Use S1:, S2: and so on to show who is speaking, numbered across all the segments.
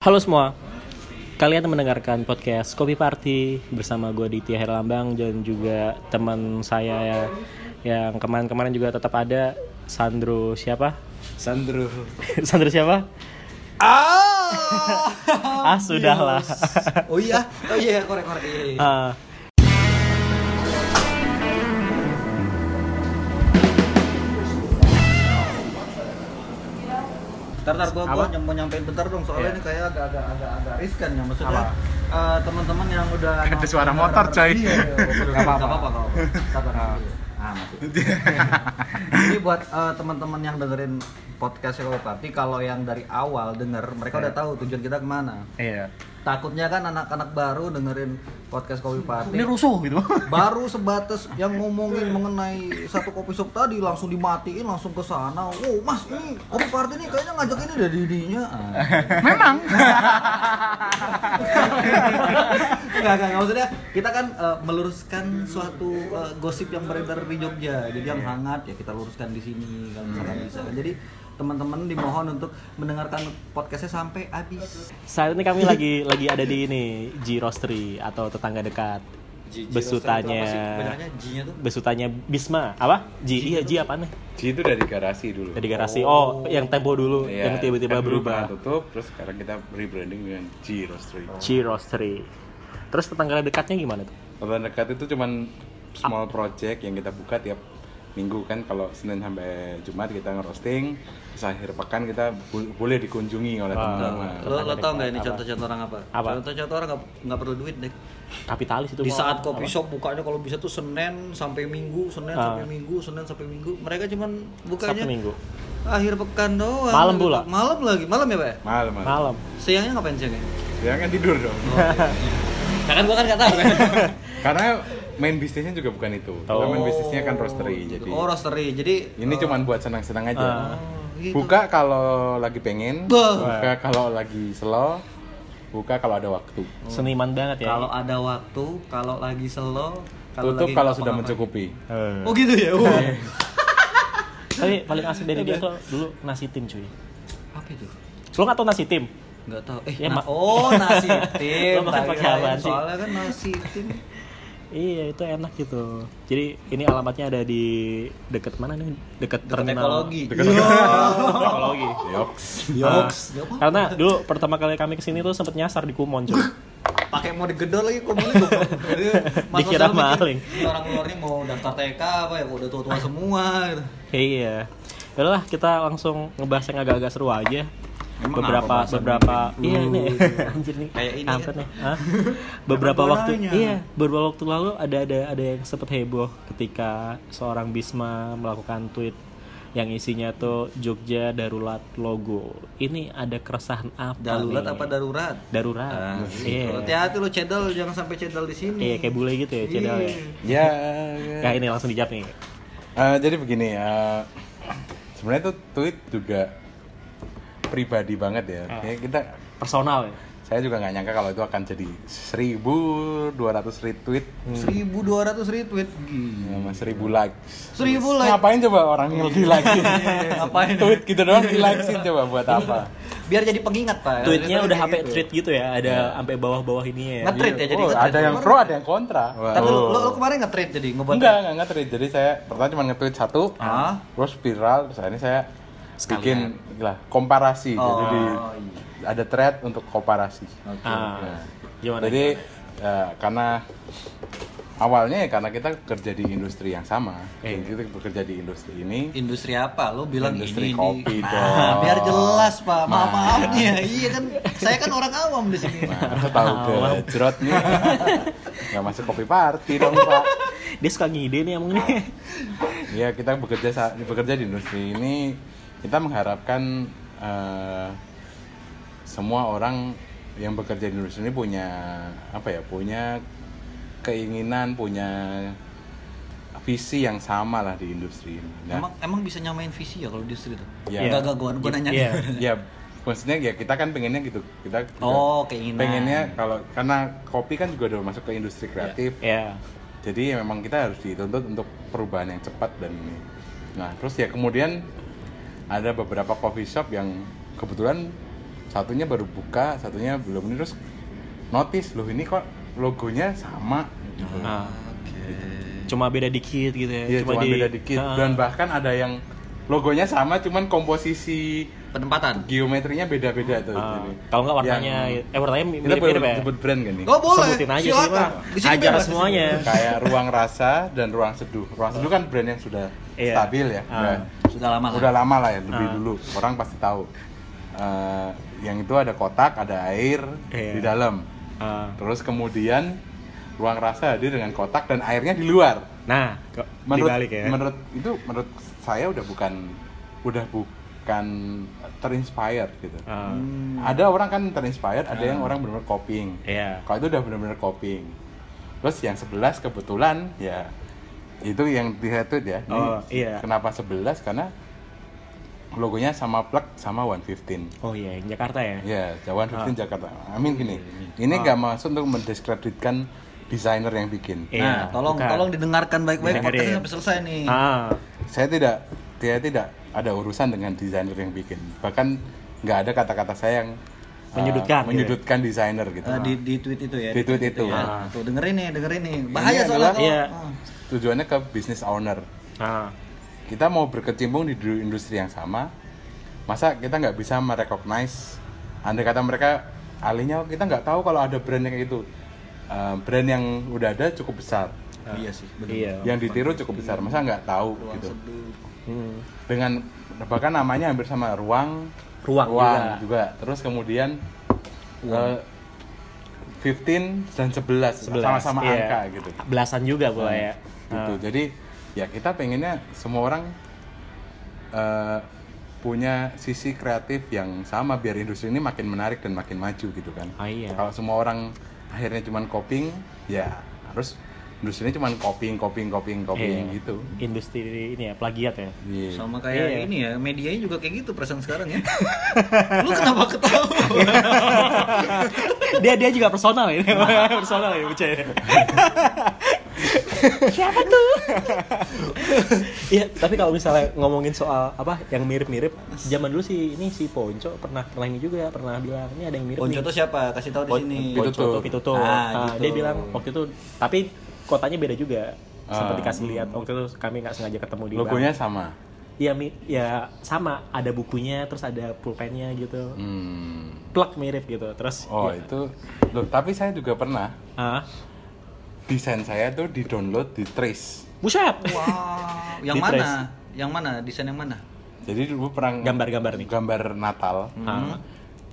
S1: Halo semua, kalian mendengarkan podcast Kopi Party bersama gue Ditya Herlambang dan juga teman saya yang kemarin-kemarin juga tetap ada Sandro siapa?
S2: Sandro.
S1: Sandro siapa?
S2: Ah.
S1: Ah, sudahlah.
S2: oh iya, oh iya korek korek. Iya, iya.
S1: Ah.
S2: Ntar ntar gua
S1: Apa?
S2: gua nyam- mau nyampein bentar dong
S1: Iya.
S2: soalnya ini kayak agak agak agak agak riskan ya maksudnya.
S3: Apa?
S2: eh, teman-teman yang udah
S3: Ada
S2: nonton-
S3: suara motor, coy.
S2: Iya, iya, iya.
S3: Nggak apa-apa.
S2: Nggak nggak Sabar. Iya. Ah, mati. Jadi buat eh, teman-teman yang dengerin podcast Kopi Party kalau yang dari awal denger mereka udah tahu tujuan kita kemana.
S3: Iya.
S2: Takutnya kan anak-anak baru dengerin podcast Kopi Party.
S3: Ini rusuh gitu.
S2: baru sebatas yang ngomongin mengenai satu kopi shop tadi langsung dimatiin langsung ke sana wow mas ini kopi party ini kayaknya ngajak ini dari dirinya
S3: Memang.
S2: nggak nggak nggak. maksudnya kita kan eh, meluruskan suatu eh, gosip yang beredar di Jogja jadi yang hangat ya kita luruskan di sini kalau misalkan bisa jadi teman-teman dimohon untuk mendengarkan podcastnya sampai habis
S1: Saat ini kami lagi lagi ada di ini G Roastery atau tetangga dekat besutanya
S2: G-nya tuh
S1: besutanya Bisma apa? G, iya G apa nih?
S4: Ji itu dari garasi dulu.
S1: Dari garasi. Oh, yang tempo dulu
S4: Iya,
S1: yang tiba-tiba
S4: kan dulu
S1: berubah.
S4: pernah tutup, terus sekarang kita rebranding dengan Ji Roastery.
S1: G Roastery. Terus tetangga dekatnya gimana tuh?
S4: Kalau dekat itu cuman small project yang kita buka tiap minggu kan kalau Senin sampai Jumat kita ngerosting, terus akhir pekan kita bu- boleh dikunjungi
S1: Ah.
S4: oleh teman-teman.
S2: Oh, lo, lo tau nggak ini contoh-contoh orang apa?
S1: Apa?
S2: Contoh-contoh orang nggak- nggak perlu duit deh.
S1: Kapitalis itu.
S2: di
S1: Mo.
S2: saat kopi shop bukanya kalau bisa tuh Senin sampai Minggu, Senin
S1: Ah.
S2: sampai Minggu, Senin sampai Minggu. Mereka cuman
S1: Sabtu
S2: bukanya
S1: Minggu.
S2: akhir pekan doang.
S1: Malam
S2: gitu.
S1: pula.
S2: Malam lagi, malam ya, Pak? ya?
S4: Malam, malam.
S1: Malam.
S2: Siangnya ngapain siangnya?
S4: Jangan kan, tidur dong.
S2: Ya kan gua kan enggak tahu kan.
S4: Karena main bisnisnya juga bukan itu. Kita
S1: Oh.
S4: main bisnisnya kan roastery jadi.
S2: Oh, roastery. Jadi
S4: Ini cuman buat senang-senang aja.
S1: Ah.
S2: oh, gitu.
S4: Buka kalau lagi pengen,
S2: Bah.
S4: buka kalau lagi slow, buka kalau ada waktu.
S1: Seniman banget ya.
S2: kalau ada waktu, kalau lagi slow, lagi
S4: Tutup kalau
S2: ngapa-ngapain.
S4: sudah mencukupi.
S2: Oh gitu ya. Oh.
S1: Tapi paling asik dari dia tuh dulu nasi tim cuy.
S2: Apa itu?
S1: Lo nggak tau nasi tim?
S2: Enggak tahu. Eh,
S1: Ya,
S2: na-
S1: Ma-
S2: oh nasi tim.
S1: Lo makan pakai
S2: Kirain.
S1: apaan sih?
S2: Soalnya kan nasi tim.
S1: Iya itu enak gitu. Jadi ini alamatnya ada di deket mana nih? Deket,
S2: Dekat
S1: terminal.
S2: ekologi.
S1: Ekologi.
S4: Yoks.
S2: Yoks.
S1: Ah, karena dulu pertama kali kami kesini tuh sempet nyasar di Kumon cuy.
S2: pakai mau digedor lagi komunis goblok. Jadi, Mas
S1: Dikira
S2: Oscar mikir,
S1: maling.
S2: Orang luarnya mau daftar TK apa ya udah tua-tua semua gitu.
S1: iya. Yaudahlah kita langsung ngebahas yang agak-agak seru aja.
S2: Emang
S1: beberapa
S2: apa bahasan
S1: beberapa
S2: ini?
S1: iya ini
S2: Uh,
S1: anjir nih
S2: kayak ini
S1: kampret
S2: kan?
S1: nih. Hah? beberapa
S2: Apa
S1: waktu
S2: bolanya?
S1: iya beberapa waktu lalu ada ada ada yang sempat heboh ketika seorang Bisma melakukan tweet yang isinya tuh Jogja darurat logo ini ada keresahan apa
S2: Darurat
S1: nih?
S2: apa darurat?
S1: darurat
S2: Ah,
S1: iya
S2: gitu. Hati-hati lo cedal jangan sampai cedal di sini.
S1: iya kayak bule gitu ya cedal ya
S2: Iya.
S4: Ya.
S1: nah ini langsung dijawab nih
S4: eh, jadi begini ya. Sebenarnya tuh tweet juga pribadi banget ya.
S2: Ah.
S4: Ya, kita
S1: personal ya
S4: saya juga nggak nyangka kalau itu akan jadi 1200 retweet
S1: Hmm.
S2: 1200 retweet gila.
S4: sama 1000 likes.
S2: 1000 like.
S4: Ngapain coba orang di like?
S2: Ngapain?
S4: tweet gitu doang di likesin coba buat apa?
S2: Biar jadi pengingat, Pak.
S1: tweetnya
S2: Jadi
S1: udah
S2: kayak
S1: HP tweet gitu ya
S4: Iya.
S1: ada sampai bawah-bawah ini ya
S2: Nge-tweet ya jadi
S4: Oh,
S2: nge-tweet.
S4: ada yang pro, ada yang kontra.
S2: Tapi lo, lo- lo kemarin nge-tweet jadi ngebuat.
S4: Enggak, enggak nge-tweet. Jadi saya pertama cuma nge-tweet satu,
S2: Ah.
S4: terus viral, terus akhirnya saya bikin lah komparasi. Jadi
S2: Oh,
S4: di- ada thread untuk komparasi. Iya.
S1: ah, gimana
S4: Jadi ya, karena awalnya ya karena kita kerja di industri yang sama.
S2: Iya.
S4: Jadi kita bekerja di industri ini.
S2: Industri apa? Lo bilang ini
S4: Industri
S2: ini.
S4: kopi dong. Nah.
S2: Ah, biar jelas, Pak. Maaf, maaf nih ya. Iya kan saya kan orang awam di sini.
S4: Nah, tahu gejrot nih. Enggak masuk kopi party dong, Pak.
S1: dia suka ngide nih emang nih
S4: Ya kita bekerja sa- bekerja di industri ini kita mengharapkan eh, semua orang yang bekerja di industri ini punya apa ya punya keinginan punya visi yang sama lah di industri ini. Nah,
S2: Emang emang bisa nyamain visi ya kalau di industri itu?
S4: Iya.
S2: Enggak enggak gua gua nanya.
S1: Iya.
S4: ya maksudnya ya kita kan pengennya gitu kita juga
S2: Oh, keinginan.
S4: pengennya kalau karena kopi kan juga udah masuk ke industri
S2: Iya.
S4: kreatif
S1: ya
S4: Jadi ya memang kita harus dituntut untuk perubahan yang cepat dan ini. Nah, terus ya kemudian ada beberapa coffee shop yang kebetulan satunya baru buka satunya belum ini terus notice loh ini kok logonya sama gitu.
S1: Nah, cuma beda dikit gitu ya.
S4: Iya, cuma
S1: di-
S4: beda dikit
S1: Ah.
S4: dan bahkan ada yang logonya sama cuman komposisi
S2: Penempatan.
S4: geometrinya beda-beda tuh
S1: Ah,
S4: Jadi,
S1: kalau nggak warnanya,
S4: Iya. yang-
S1: eh warnanya
S4: kita baru
S1: mirip-mirip ya.
S4: sebut brand kan nih
S2: Oh boleh.
S1: Sebutin aja sih,
S2: Silakan.
S1: Bang.
S2: Di sini
S1: Ajar
S2: bebas, di sini
S1: semuanya.
S2: bebas.
S4: kayak ruang rasa dan ruang seduh ruang seduh kan brand yang sudah
S1: Iya.
S4: stabil ya
S1: Ah.
S4: udah,
S2: Sudah lama lah.
S4: udah lama lah ya lebih
S1: Ah.
S4: dulu orang pasti tahu Eh, yang itu ada kotak ada air
S1: Iya.
S4: di dalam
S1: Ah.
S4: terus kemudian ruang rasa hadir dengan kotak dan airnya di luar
S1: Nah, kok dibalik ya.
S4: menurut itu menurut saya udah bukan udah bukan terinspired gitu.
S1: Ah,
S4: Ada orang kan terinspired, ada yang orang benar-benar copying.
S1: Iya.
S4: Nah, Kalau itu udah benar-benar copying. Terus yang 11 kebetulan ya itu yang diatur ya. Ini
S1: Oh, iya.
S4: Kenapa 11? Karena logonya sama plug sama 115.
S1: Oh iya, yang Jakarta ya.
S4: Ya, Jawan 15 Jakarta. Amin
S1: Iya,
S4: gini. Ini nggak
S1: Ah.
S4: maksud untuk mendiskreditkan desainer yang bikin.
S1: Iya,
S2: Nah, tolong
S1: bukan.
S2: tolong didengarkan baik-baik
S1: Dengerin.
S2: podcastnya sampai selesai nih.
S1: Ah,
S4: saya tidak saya tidak ada urusan dengan desainer yang bikin bahkan nggak ada kata-kata saya yang uh,
S1: Menyudutkan, gitu.
S4: menyudutkan desainer gitu
S2: Eh, di di tweet itu ya.
S4: Di tweet itu.
S2: ya.
S1: Ah.
S2: Tuh dengerin nih, dengerin nih. Bahaya
S4: Ini
S2: soalnya
S4: adalah-
S2: kalau-
S1: Iya.
S2: Ah.
S4: tujuannya ke business owner
S1: ah.
S4: kita mau berkecimpung di du- industri yang sama masa kita nggak bisa merecognize andai kata mereka alihnya kita nggak tahu kalau ada brand yang itu Uh, brand yang udah ada cukup besar
S2: Iya sih, bener.
S1: Iya.
S4: yang ditiru cukup besar masa nggak tahu
S2: Ruang
S4: gitu
S2: seduh.
S1: Hmm.
S4: dengan bahkan namanya hampir sama ruang
S1: Ruang
S4: juga. terus kemudian eh, 15 dan 11
S1: 11,
S4: sama-sama
S1: iya.
S4: angka gitu
S1: Belasan juga pula ya.
S4: gitu jadi ya kita pengennya semua orang eh, punya sisi kreatif yang sama biar industri ini makin menarik dan makin maju gitu kan
S1: Ah, iya.
S4: kalau semua orang akhirnya cuman copying ya harus industri ini cuman copying copying copying copying
S1: Iya.
S4: gitu
S1: Industri ini ya plagiat ya.
S4: Iya.
S2: Sama
S1: Iya.
S2: kayak ini ya, medianya juga kayak gitu perasaan sekarang ya. Lu kenapa ketawa?
S1: dia dia juga personal ini. personal ya, Buce. Siapa tuh? Iya, tapi kalau misalnya ngomongin soal apa yang mirip-mirip, zaman dulu sih ini si Ponco pernah pernah ini juga pernah bilang ini ada yang mirip.
S2: Ponco
S1: nih."
S2: tuh siapa? Kasih tahu di
S4: Pon-
S2: sini.
S4: Ponco. Gitu
S1: Ponco tuh Pituto.
S2: Ah,
S1: Ah,
S2: gitu.
S1: dia bilang waktu itu tapi kotanya beda juga. Sempat
S4: Ah.
S1: dikasih lihat waktu itu kami nggak sengaja ketemu di
S4: logonya
S1: bank.
S4: sama
S1: Iya, Mi. ya sama ada bukunya terus ada pulpennya gitu.
S4: Hmm.
S1: Plak mirip gitu. Terus
S4: Oh
S1: ya,
S4: itu, loh tapi saya juga pernah
S1: ah,
S4: desain saya tuh di download di Trace.
S1: buset.
S2: Wow,
S1: Di
S2: yang mana?
S1: trace.
S2: Yang mana? Desain yang mana?
S4: Jadi dulu pernah
S1: Gambar-gambar nih.
S4: Gambar Natal.
S1: Ah.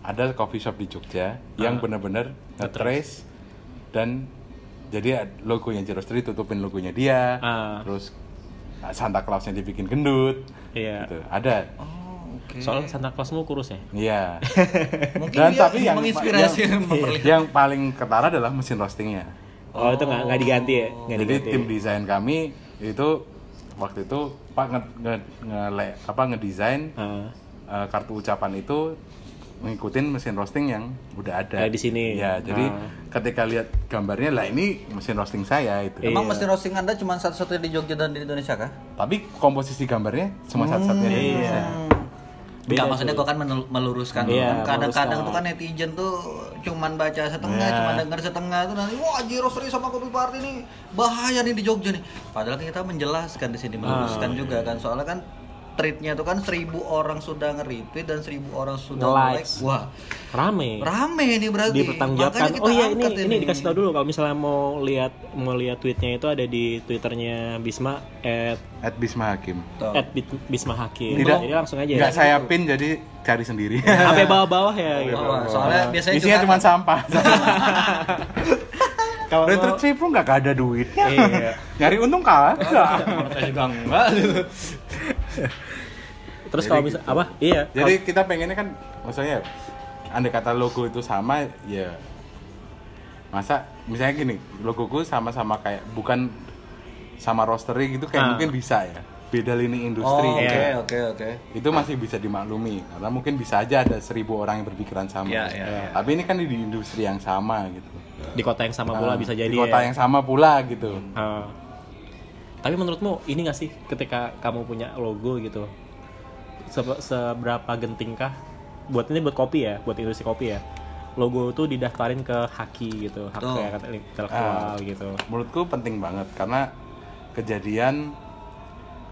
S4: Ada coffee shop di Jogja yang benar-benar nge-trace dan jadi ad- logonya Zero Street tutupin logonya dia.
S1: Ah.
S4: Terus ah, Santa Clausnya dibikin gendut.
S1: Iya.
S4: Gitu. Ada.
S2: Oh, oke.
S1: Soal Santa Clausmu kurus ya.
S4: Iya.
S2: Mungkin
S4: Dan
S2: dia
S4: tapi yang
S2: menginspirasi
S4: yang,
S2: memperlihatkan.
S4: yang paling ketara adalah mesin roastingnya.
S1: Oh, itu nggak nggak diganti ya? Nggak
S4: Jadi
S1: diganti.
S4: tim desain kami itu waktu itu Pak nge, nge, ngele- apa ngedesain
S1: Ah.
S4: eh, kartu ucapan itu ngikutin mesin roasting yang udah ada.
S1: Ada di sini.
S4: Ya, jadi
S1: Ah.
S4: ketika lihat gambarnya lah ini mesin roasting saya itu.
S1: Iya.
S2: Emang mesin roasting Anda cuma satu-satunya di Jogja dan di Indonesia kah?
S4: Tapi komposisi gambarnya cuma
S1: Hmm, iya.
S4: satu-satunya di Indonesia.
S1: Beda
S2: Enggak, maksudnya gua kan menel- meluruskan dulu.
S1: Iya,
S2: Kan Kadang-kadang
S1: meluruskan. Iya.
S2: tuh kan netizen tuh cuman baca setengah, cuman denger setengah tuh nanti wah Jiro Sri sama Kopi Party nih bahaya nih di Jogja nih. Padahal kita menjelaskan di sini
S1: Ah.
S2: meluruskan juga kan soalnya kan treatnya tuh kan seribu orang sudah nge-retweet dan seribu orang sudah
S1: Nge-likes.
S2: nge-like. Wah,
S1: Rame.
S2: rame nih berarti. Makanya
S1: dipertanggungjawabkan
S2: kita
S1: oh iya ini,
S2: angkat
S1: ini dikasih tahu dulu kalau misalnya mau lihat mau lihat tweetnya itu ada di twitternya Bisma at,
S4: At Bisma Hakim.
S2: Tuh.
S1: at Bi- Bisma Hakim
S4: Oh. Tidak,
S1: jadi langsung aja ya.
S4: nggak saya Oh, iya. pin jadi cari sendiri.
S1: sampai bawah-bawah ya gitu.
S2: Wah, soalnya biasanya juga-
S4: Isinya
S2: kan-
S4: cuma sampah.
S1: Kalau
S4: Dari
S1: mau-
S4: tercepu nggak nggak ada duitnya.
S1: Iya.
S4: Nyari untung kalah.
S2: Saya juga enggak.
S4: gitu.
S1: terus kalau bisa apa iya
S4: Jadi kita pengennya kan maksudnya andai kata logo itu sama ya masa misalnya gini logoku sama-sama kayak bukan sama roastery gitu kayak
S1: Ah.
S4: mungkin bisa ya beda lini industri
S2: Oh,
S4: ya.
S2: oke
S1: Iya.
S2: oke oke.
S4: itu masih bisa dimaklumi karena mungkin bisa aja ada seribu orang yang berpikiran sama
S2: Iya, iya, iya.
S4: tapi ini kan di industri yang sama gitu
S1: di kota yang sama pula
S4: Nah,
S1: bisa jadi
S4: di kota
S1: ya.
S4: yang sama pula gitu
S1: Ah. tapi menurutmu ini nggak sih ketika kamu punya logo gitu se- seberapa gentingkah buat ini buat kopi ya, buat industri kopi ya. Logo tuh didaftarin ke Haki gitu, hak
S2: Betul.
S1: kekayaan intelektual gitu.
S4: Menurutku penting banget karena kejadian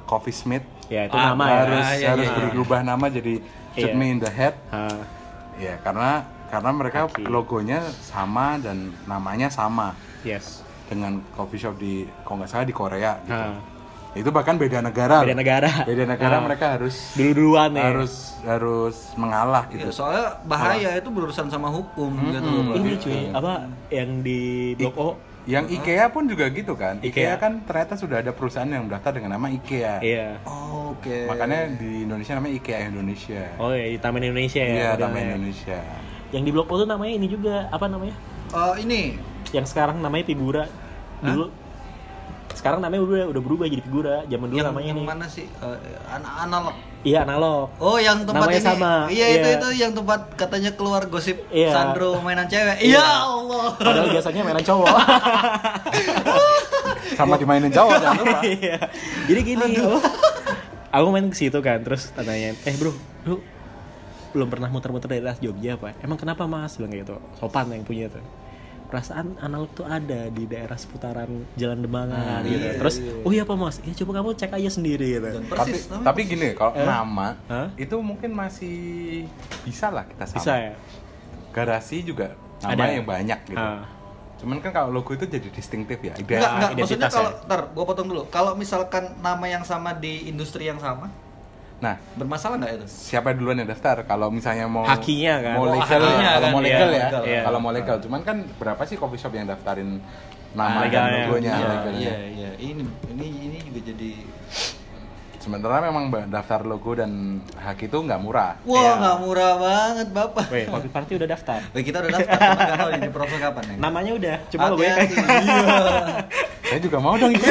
S4: Coffee Smith
S1: Ya, itu
S4: ah,
S1: nama ya.
S4: harus
S2: Ah, iya,
S4: harus
S2: iya,
S4: berubah nama jadi Shoot
S1: Iya.
S4: Me in the Head.
S1: Ah,
S4: Ya, karena karena mereka
S1: Oke.
S4: logonya sama dan namanya sama
S1: yes.
S4: dengan coffee shop di kalau nggak salah di Korea gitu.
S1: Ah.
S4: Itu bahkan beda negara.
S1: Beda negara.
S4: Beda
S1: Ah.
S4: negara mereka harus
S1: Dulu-duluan ya.
S4: harus harus mengalah
S2: Iya,
S4: gitu.
S2: soalnya bahaya itu berurusan sama hukum gitu loh. Bro.
S1: ini cuy, apa yang di Blok O?
S4: Yang IKEA pun juga gitu kan.
S1: Ah.
S4: IKEA,
S1: IKEA.
S4: kan ternyata sudah ada perusahaan yang mendaftar dengan nama IKEA.
S1: Iya.
S2: Oh, Oke.
S4: Makanya di Indonesia namanya IKEA Indonesia.
S1: Oh ya, di Taman Indonesia ya.
S4: Iya,
S1: modelnya.
S4: nama Indonesia.
S1: Yang di Blok O tuh namanya ini juga, apa namanya?
S2: Eh, ini
S1: Yang sekarang namanya Figura. Dulu sekarang namanya udah udah berubah jadi Figura. Zaman dulu
S2: yang
S1: namanya
S2: yang
S1: ini.
S2: mana sih? Eh, an- analog.
S1: Iya, analog.
S2: Oh, yang tempat
S1: Namanya
S2: ini.
S1: sama.
S2: Iya, itu
S1: Iya.
S2: itu yang tempat katanya keluar gosip
S1: Iya.
S2: Sandro mainan cewek. Iya, Allah.
S1: Padahal biasanya mainan cowok.
S4: Sama dimainin Jawa jangan lupa.
S1: Iya. Jadi gini, aku main ke situ kan, terus tanyain, eh bro, lu belum pernah muter-muter daerah Jogja apa? Emang kenapa mas? Bilang kayak gitu, sopan yang punya tuh. Perasaan analog tuh ada di daerah seputaran Jalan
S2: Ah,
S1: Demangan gitu. terus, oh iya pak mas, ya coba kamu cek aja sendiri gitu.
S4: Tapi,
S2: Persis. namanya.
S4: tapi gini kalau nama
S1: Eh? Hah?
S4: itu mungkin masih bisa lah kita sama.
S1: Bisa ya?
S4: Garasi juga nama
S1: Ada.
S4: yang banyak gitu.
S1: Ah.
S4: Cuman kan kalau logo itu jadi distintif ya. Ide-
S2: Enggak, enggak. Maksudnya
S1: identitas
S2: kalau ntar gua potong dulu. Kalau misalkan nama yang sama di industri yang sama,
S4: Nah,
S2: bermasalah nggak itu?
S4: siapa duluan yang daftar kalau misalnya mau
S1: Hakinya kan?
S4: mau
S1: Oh,
S4: legal
S2: hakinya
S4: kalau
S2: kan,
S4: mau
S2: iya,
S4: legal ya
S2: legal.
S1: Iya.
S4: kalau mau legal cuman kan berapa sih coffee shop yang daftarin
S1: Ah,
S4: nama dan
S1: legalnya.
S4: logonya
S1: Iya,
S4: legalnya.
S2: Iya, iya. Ini ini ini juga jadi
S4: sementara memang ba- daftar logo dan hak itu nggak murah
S2: Wah, nggak murah banget, Bapak.
S1: Iya. Weh, kopi party udah daftar.
S2: Weh, kita udah daftar sama nggak tahu ini proposal kapan ya.
S1: Namanya udah, cuma lo
S2: Hati-hati.
S1: kayak gitu.
S2: Iya.
S4: saya juga mau dong gitu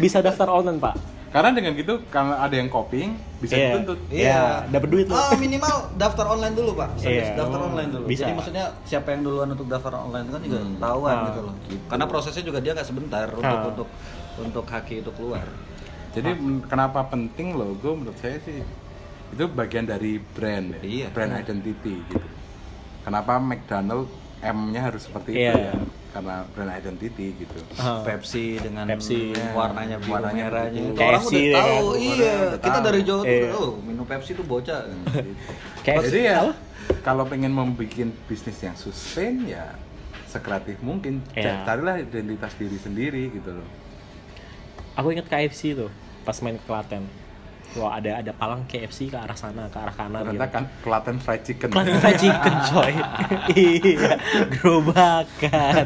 S1: bisa daftar online pak.
S4: karena dengan gitu kalau ada yang copying bisa
S1: Iya.
S4: dituntut
S2: Iya.
S1: dapat duit lo.
S2: Oh, minimal daftar online dulu, Pak. Serius,
S1: Iya.
S2: daftar online dulu.
S1: Bisa.
S2: Jadi maksudnya siapa yang duluan untuk daftar online itu kan juga
S4: Hmm.
S2: tahuan
S1: Ah.
S2: gitu loh. Karena prosesnya juga dia nggak sebentar untuk
S1: Ah.
S2: untuk untuk haki itu keluar.
S4: jadi men- kenapa penting logo menurut saya sih itu bagian dari brand ya,
S2: Iya.
S4: brand identity gitu kenapa McDonald M-nya harus seperti itu
S1: Iya.
S4: ya karena brand identity gitu
S1: Ah.
S2: Pepsi dengan
S1: Pepsi.
S2: warnanya biru
S4: Warnanya
S2: merahnya.
S4: biru.
S2: Itu orang
S1: KFC
S2: udah
S1: ya
S2: tahu.
S1: kan?
S2: Iya,
S4: Orang udah
S2: kita
S4: tahu.
S2: dari jauh tuh
S1: Iya.
S2: udah tahu minum Pepsi tuh bocah.
S1: Kayak
S4: Jadi ya, kalau pengen membuat bisnis yang sustain ya sekreatif mungkin.
S1: Iya.
S4: Carilah identitas diri sendiri gitu loh.
S1: Aku inget KFC tuh pas main ke Klaten. Wah ada ada palang KFC ke arah sana ke arah kanan.
S4: Ternyata
S1: gitu.
S4: kan Klaten Fried Chicken.
S1: Klaten fried chicken coy. iya gerobakan.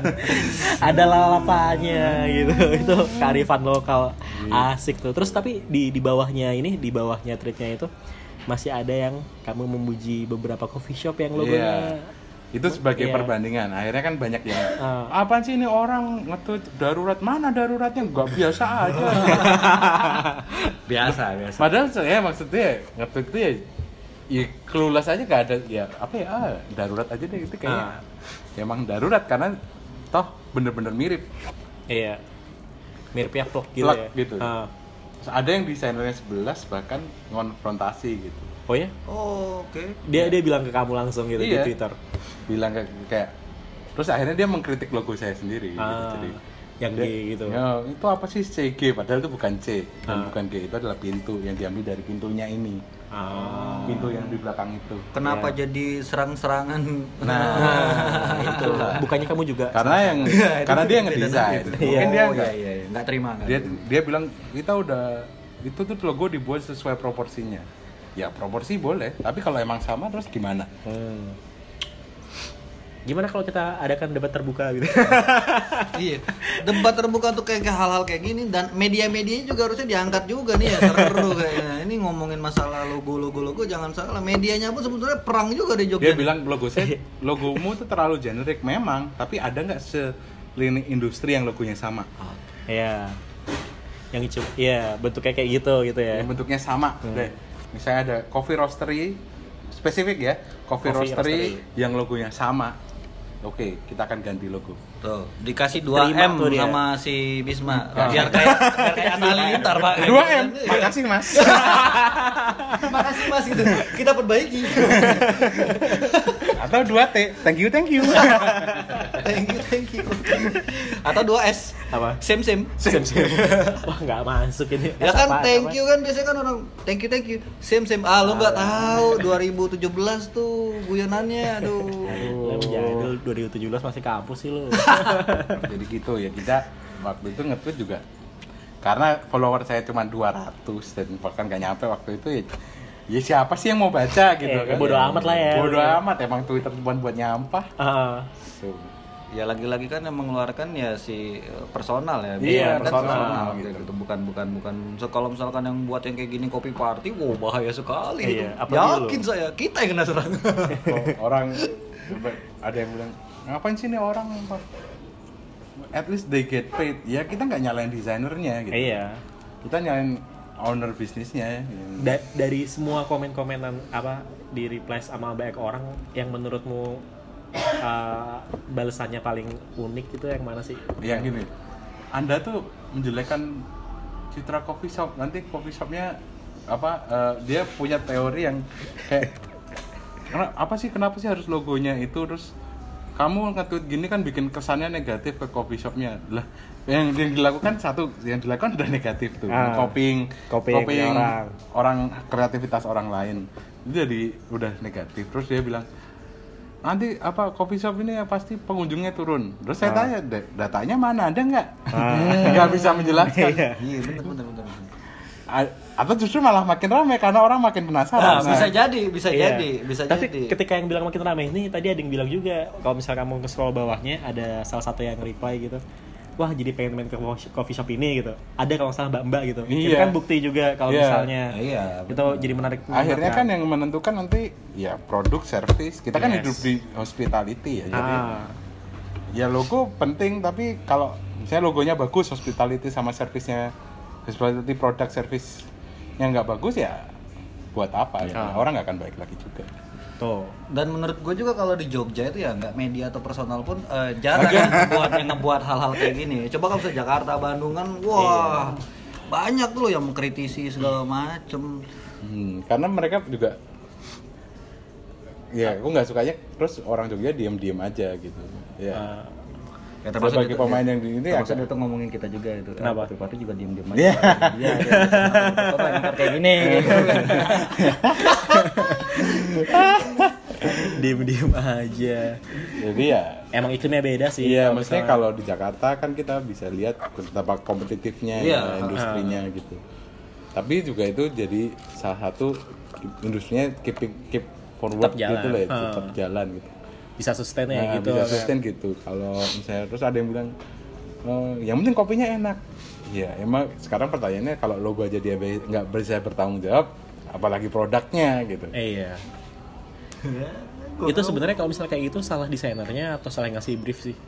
S1: ada lalapannya gitu itu kearifan lokal
S4: Iya.
S1: asik tuh. Terus tapi di di bawahnya ini di bawahnya treatnya itu masih ada yang kamu memuji beberapa coffee shop yang logonya.
S4: Iya. Itu sebagai
S1: Iya.
S4: perbandingan. Akhirnya kan banyak yang
S1: Ah.
S4: apaan sih ini orang ngetut darurat mana daruratnya nggak biasa aja.
S2: Biasa, biasa.
S4: Padahal saya maksudnya ngetut itu ya ya clueless aja nggak ada ya apa ya ah, darurat aja deh itu
S1: Ah.
S4: kayaknya. Ya, emang darurat karena toh bener-bener mirip.
S1: Iya. Miripnya vlog gitu
S4: Plug
S1: ya.
S4: gitu.
S1: Ah.
S4: Terus ada yang desainernya 11 bahkan konfrontasi gitu.
S1: Oh ya?
S2: Oh, oke.
S1: Dia dia bilang ke kamu langsung gitu
S4: Iya.
S1: di Twitter.
S4: Bilang kayak, kayak terus akhirnya dia mengkritik logo saya sendiri gitu.
S1: Ah,
S4: Jadi
S1: yang
S4: dia-
S1: di gitu.
S4: "Ya, itu apa sih CG padahal itu bukan C dan
S1: Ah.
S4: bukan G itu adalah pintu yang diambil dari pintunya ini.
S1: Ah.
S4: Pintu yang di belakang itu.
S2: Kenapa
S1: Iya.
S2: jadi serang-serangan?
S4: Nah, itu
S1: Bukannya kamu juga
S4: Karena yang karena dia yang ngedesain. Mungkin dia
S2: enggak
S4: nggak-
S2: iya, iya. Nggak terima nggak
S4: dia
S2: terima.
S4: dia bilang kita udah itu tuh logo dibuat sesuai proporsinya. Ya proporsi boleh, tapi kalau emang sama terus gimana?
S1: Hmm. Gimana kalau kita adakan debat terbuka gitu?
S2: iya. Debat terbuka untuk kayak kayak hal-hal kayak gini dan media-media juga harusnya diangkat juga nih ya seru kayaknya. Ini ngomongin masalah logo-logo logo jangan salah. Medianya pun sebetulnya perang juga di Jogja.
S4: Dia bilang logo saya, logomu tuh terlalu generik memang, tapi ada nggak selini industri yang logonya sama,
S1: Iya. Yang hijau. Iya, bentuknya kayak gitu gitu ya.
S4: yang bentuknya sama. Deh, Misalnya ada coffee roastery spesifik ya,
S1: Coffee
S4: coffee, roastery,
S1: roastery.
S4: yang logonya sama. Oke, kita akan ganti logo.
S2: Tuh, dikasih 2
S1: Terima
S2: M
S1: tuh dia.
S2: sama si Bisma. Biar kayak biar kayak anak halilintar, Pak.
S1: Nah,
S4: Dua M, makasih mas.
S2: Makasih Mas gitu. Kita perbaiki.
S4: Atau dua T, thank you thank you.
S2: thank you, thank you. Atau 2 S.
S1: Apa?
S2: Same same.
S1: Sim sim. Wah nggak masuk ini.
S2: Ya
S1: Apa-
S2: kan
S1: apa-
S2: thank you kan biasanya kan orang thank you thank you. Same same. Ah, lu enggak tahu 2017 tuh guyonannya aduh.
S4: Oh.
S1: Ya, jadul 2017 masih kampus sih lu.
S4: Jadi gitu ya kita waktu itu nge-tweet juga karena follower saya cuma 200 dan bahkan gak nyampe waktu itu ya ya siapa sih yang mau baca gitu
S1: Eh,
S4: kan
S1: bodo amat lah ya.
S4: bodo amat emang Twitter cuma buat nyampah Gitu.
S1: Ah,
S4: Tuh.
S2: Ya lagi-lagi kan yang mengeluarkan ya si eh, personal ya.
S1: Iya,
S2: Bukan
S1: personal.
S2: gitu. gitu. Bukan bukan bukan. So, kalau misalkan yang buat yang kayak gini kopi party, wow bahaya sekali.
S1: Iya,
S2: itu.
S1: apalagi
S2: Yakin
S1: lu.
S2: saya kita yang kena serang.
S4: orang ada yang bilang ngapain sih nih orang at least they get paid ya kita nggak nyalain desainernya gitu
S1: iya.
S4: kita nyalain owner bisnisnya gitu.
S1: Da- dari semua komen-komenan apa di reply sama banyak orang yang menurutmu eh, balasannya paling unik itu yang mana sih?
S4: yang gini anda tuh menjelekkan citra coffee shop nanti coffee shopnya apa eh, dia punya teori yang kayak "Kena- apa sih kenapa sih harus logonya itu terus kamu nge-tweet gini kan bikin kesannya negatif ke coffee shopnya lah yang, yang dilakukan satu yang dilakukan udah negatif tuh
S1: Ah.
S4: copying
S1: Copying orang.
S4: orang kreativitas orang lain itu jadi udah negatif terus dia bilang nanti apa coffee shop ini ya pasti pengunjungnya turun terus
S2: Ah.
S4: saya tanya "Da- datanya mana ada nggak nggak bisa menjelaskan
S2: Iya, bener bener bener. bener.
S4: A- atau justru malah makin ramai karena orang makin
S2: Nah,
S4: penasaran
S2: bisa jadi, bisa
S1: Iya.
S2: jadi, bisa
S1: Tapi
S2: jadi.
S1: ketika yang bilang makin ramai ini tadi ada yang bilang juga kalau misalnya kamu ke scroll bawahnya ada salah satu yang reply gitu. Wah jadi pengen main ke coffee shop ini gitu. Ada kalau nggak salah mbak-mbak gitu. Itu
S4: Iya.
S1: kan bukti juga kalau
S4: Iya.
S1: misalnya
S2: Iya,
S1: itu jadi menarik.
S4: akhirnya
S2: ya.
S4: kan yang menentukan nanti ya produk service kita kan
S1: Yes.
S4: hidup di hospitality ya jadi
S1: Ah,
S4: ya logo penting tapi kalau misalnya logonya bagus hospitality sama servisnya hospitality produk service yang nggak bagus ya buat apa
S1: Ah.
S4: ya orang nggak akan baik lagi juga
S1: tuh.
S2: Dan menurut gue juga kalau di Jogja itu ya nggak media atau personal pun eh, jarang yang ngebuat yang ngebuat hal-hal kayak gini. Coba kalau misalnya Jakarta, Bandung kan, wah banyak tuh loh yang mengkritisi segala macem.
S4: Hmm, karena mereka juga ya aku nggak sukanya terus orang Jogja diem-diem aja gitu ya
S1: Ah,
S2: Ya,
S4: sebagai
S2: itu-
S4: pemain yang ya di ini
S2: termasuk
S4: agak-
S2: itu ngomongin kita juga itu.
S1: Kenapa?
S2: Eh, Party juga diem-diem aja.
S4: Iya.
S2: Iya. iya. Kenapa Bapak yang kayak gini? gitu kan.
S1: Diem-diem aja.
S4: jadi ya
S1: Emang iklimnya beda sih.
S4: Iya,
S1: kalau
S4: maksudnya
S1: misalnya-
S4: kalau di Jakarta kan kita bisa lihat betapa kompetitifnya
S2: Iya.
S4: ya, industrinya
S1: Ah.
S4: gitu. Tapi juga itu jadi salah satu industrinya keep keep forward
S1: Tetap jalan.
S4: gitu lah, ya,
S1: Ah.
S4: tetap jalan gitu.
S1: bisa sustain ya
S4: Nah,
S1: gitu. kan.
S4: bisa sustain gitu. Kalau misalnya terus ada yang bilang, "Oh, yang penting kopinya enak." Ya, emang sekarang pertanyaannya kalau logo aja dia be- nggak bisa bertanggung jawab, apalagi produknya gitu.
S1: Eh, Iya.
S2: Iya.
S1: itu sebenarnya kalau misalnya kayak gitu salah desainernya atau salah yang ngasih brief sih.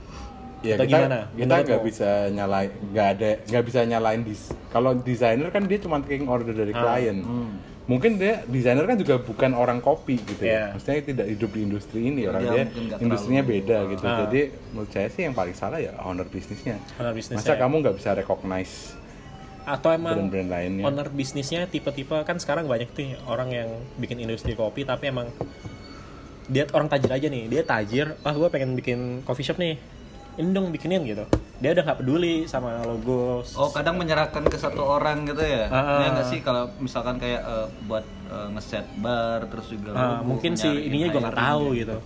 S4: Ya,
S1: Atau
S4: kita
S1: gimana?
S4: kita
S1: Menurut
S4: nggak
S1: lo?
S4: bisa nyalain nggak ada nggak bisa nyalain dis kalau desainer kan dia cuma taking order dari
S1: Ah,
S4: klien
S1: hmm.
S4: mungkin dia desainer kan juga bukan orang kopi gitu
S1: Iya.
S4: ya maksudnya tidak hidup di industri ini orang
S2: Iya,
S4: dia
S2: mungkin nggak
S4: industrinya beda gitu
S1: Ah.
S4: jadi menurut saya sih yang paling salah ya owner bisnisnya
S1: Owner bisnisnya.
S4: masa kamu nggak bisa recognize
S1: Atau emang
S4: brand-brand lainnya
S1: owner bisnisnya tipe-tipe kan sekarang banyak tuh orang yang bikin industri kopi tapi emang dia orang tajir aja nih dia tajir ah gue pengen bikin coffee shop nih ini dong bikinin gitu dia udah nggak peduli sama logo
S2: Oh kadang menyerahkan ke satu orang gitu ya?
S1: Ah.
S2: Iya nggak sih kalau misalkan kayak eh, buat eh, ngeset bar terus juga
S1: Ah,
S2: logo,
S1: mungkin sih
S2: nyariin
S1: ininya gue nggak
S2: hiring.
S1: tahu gitu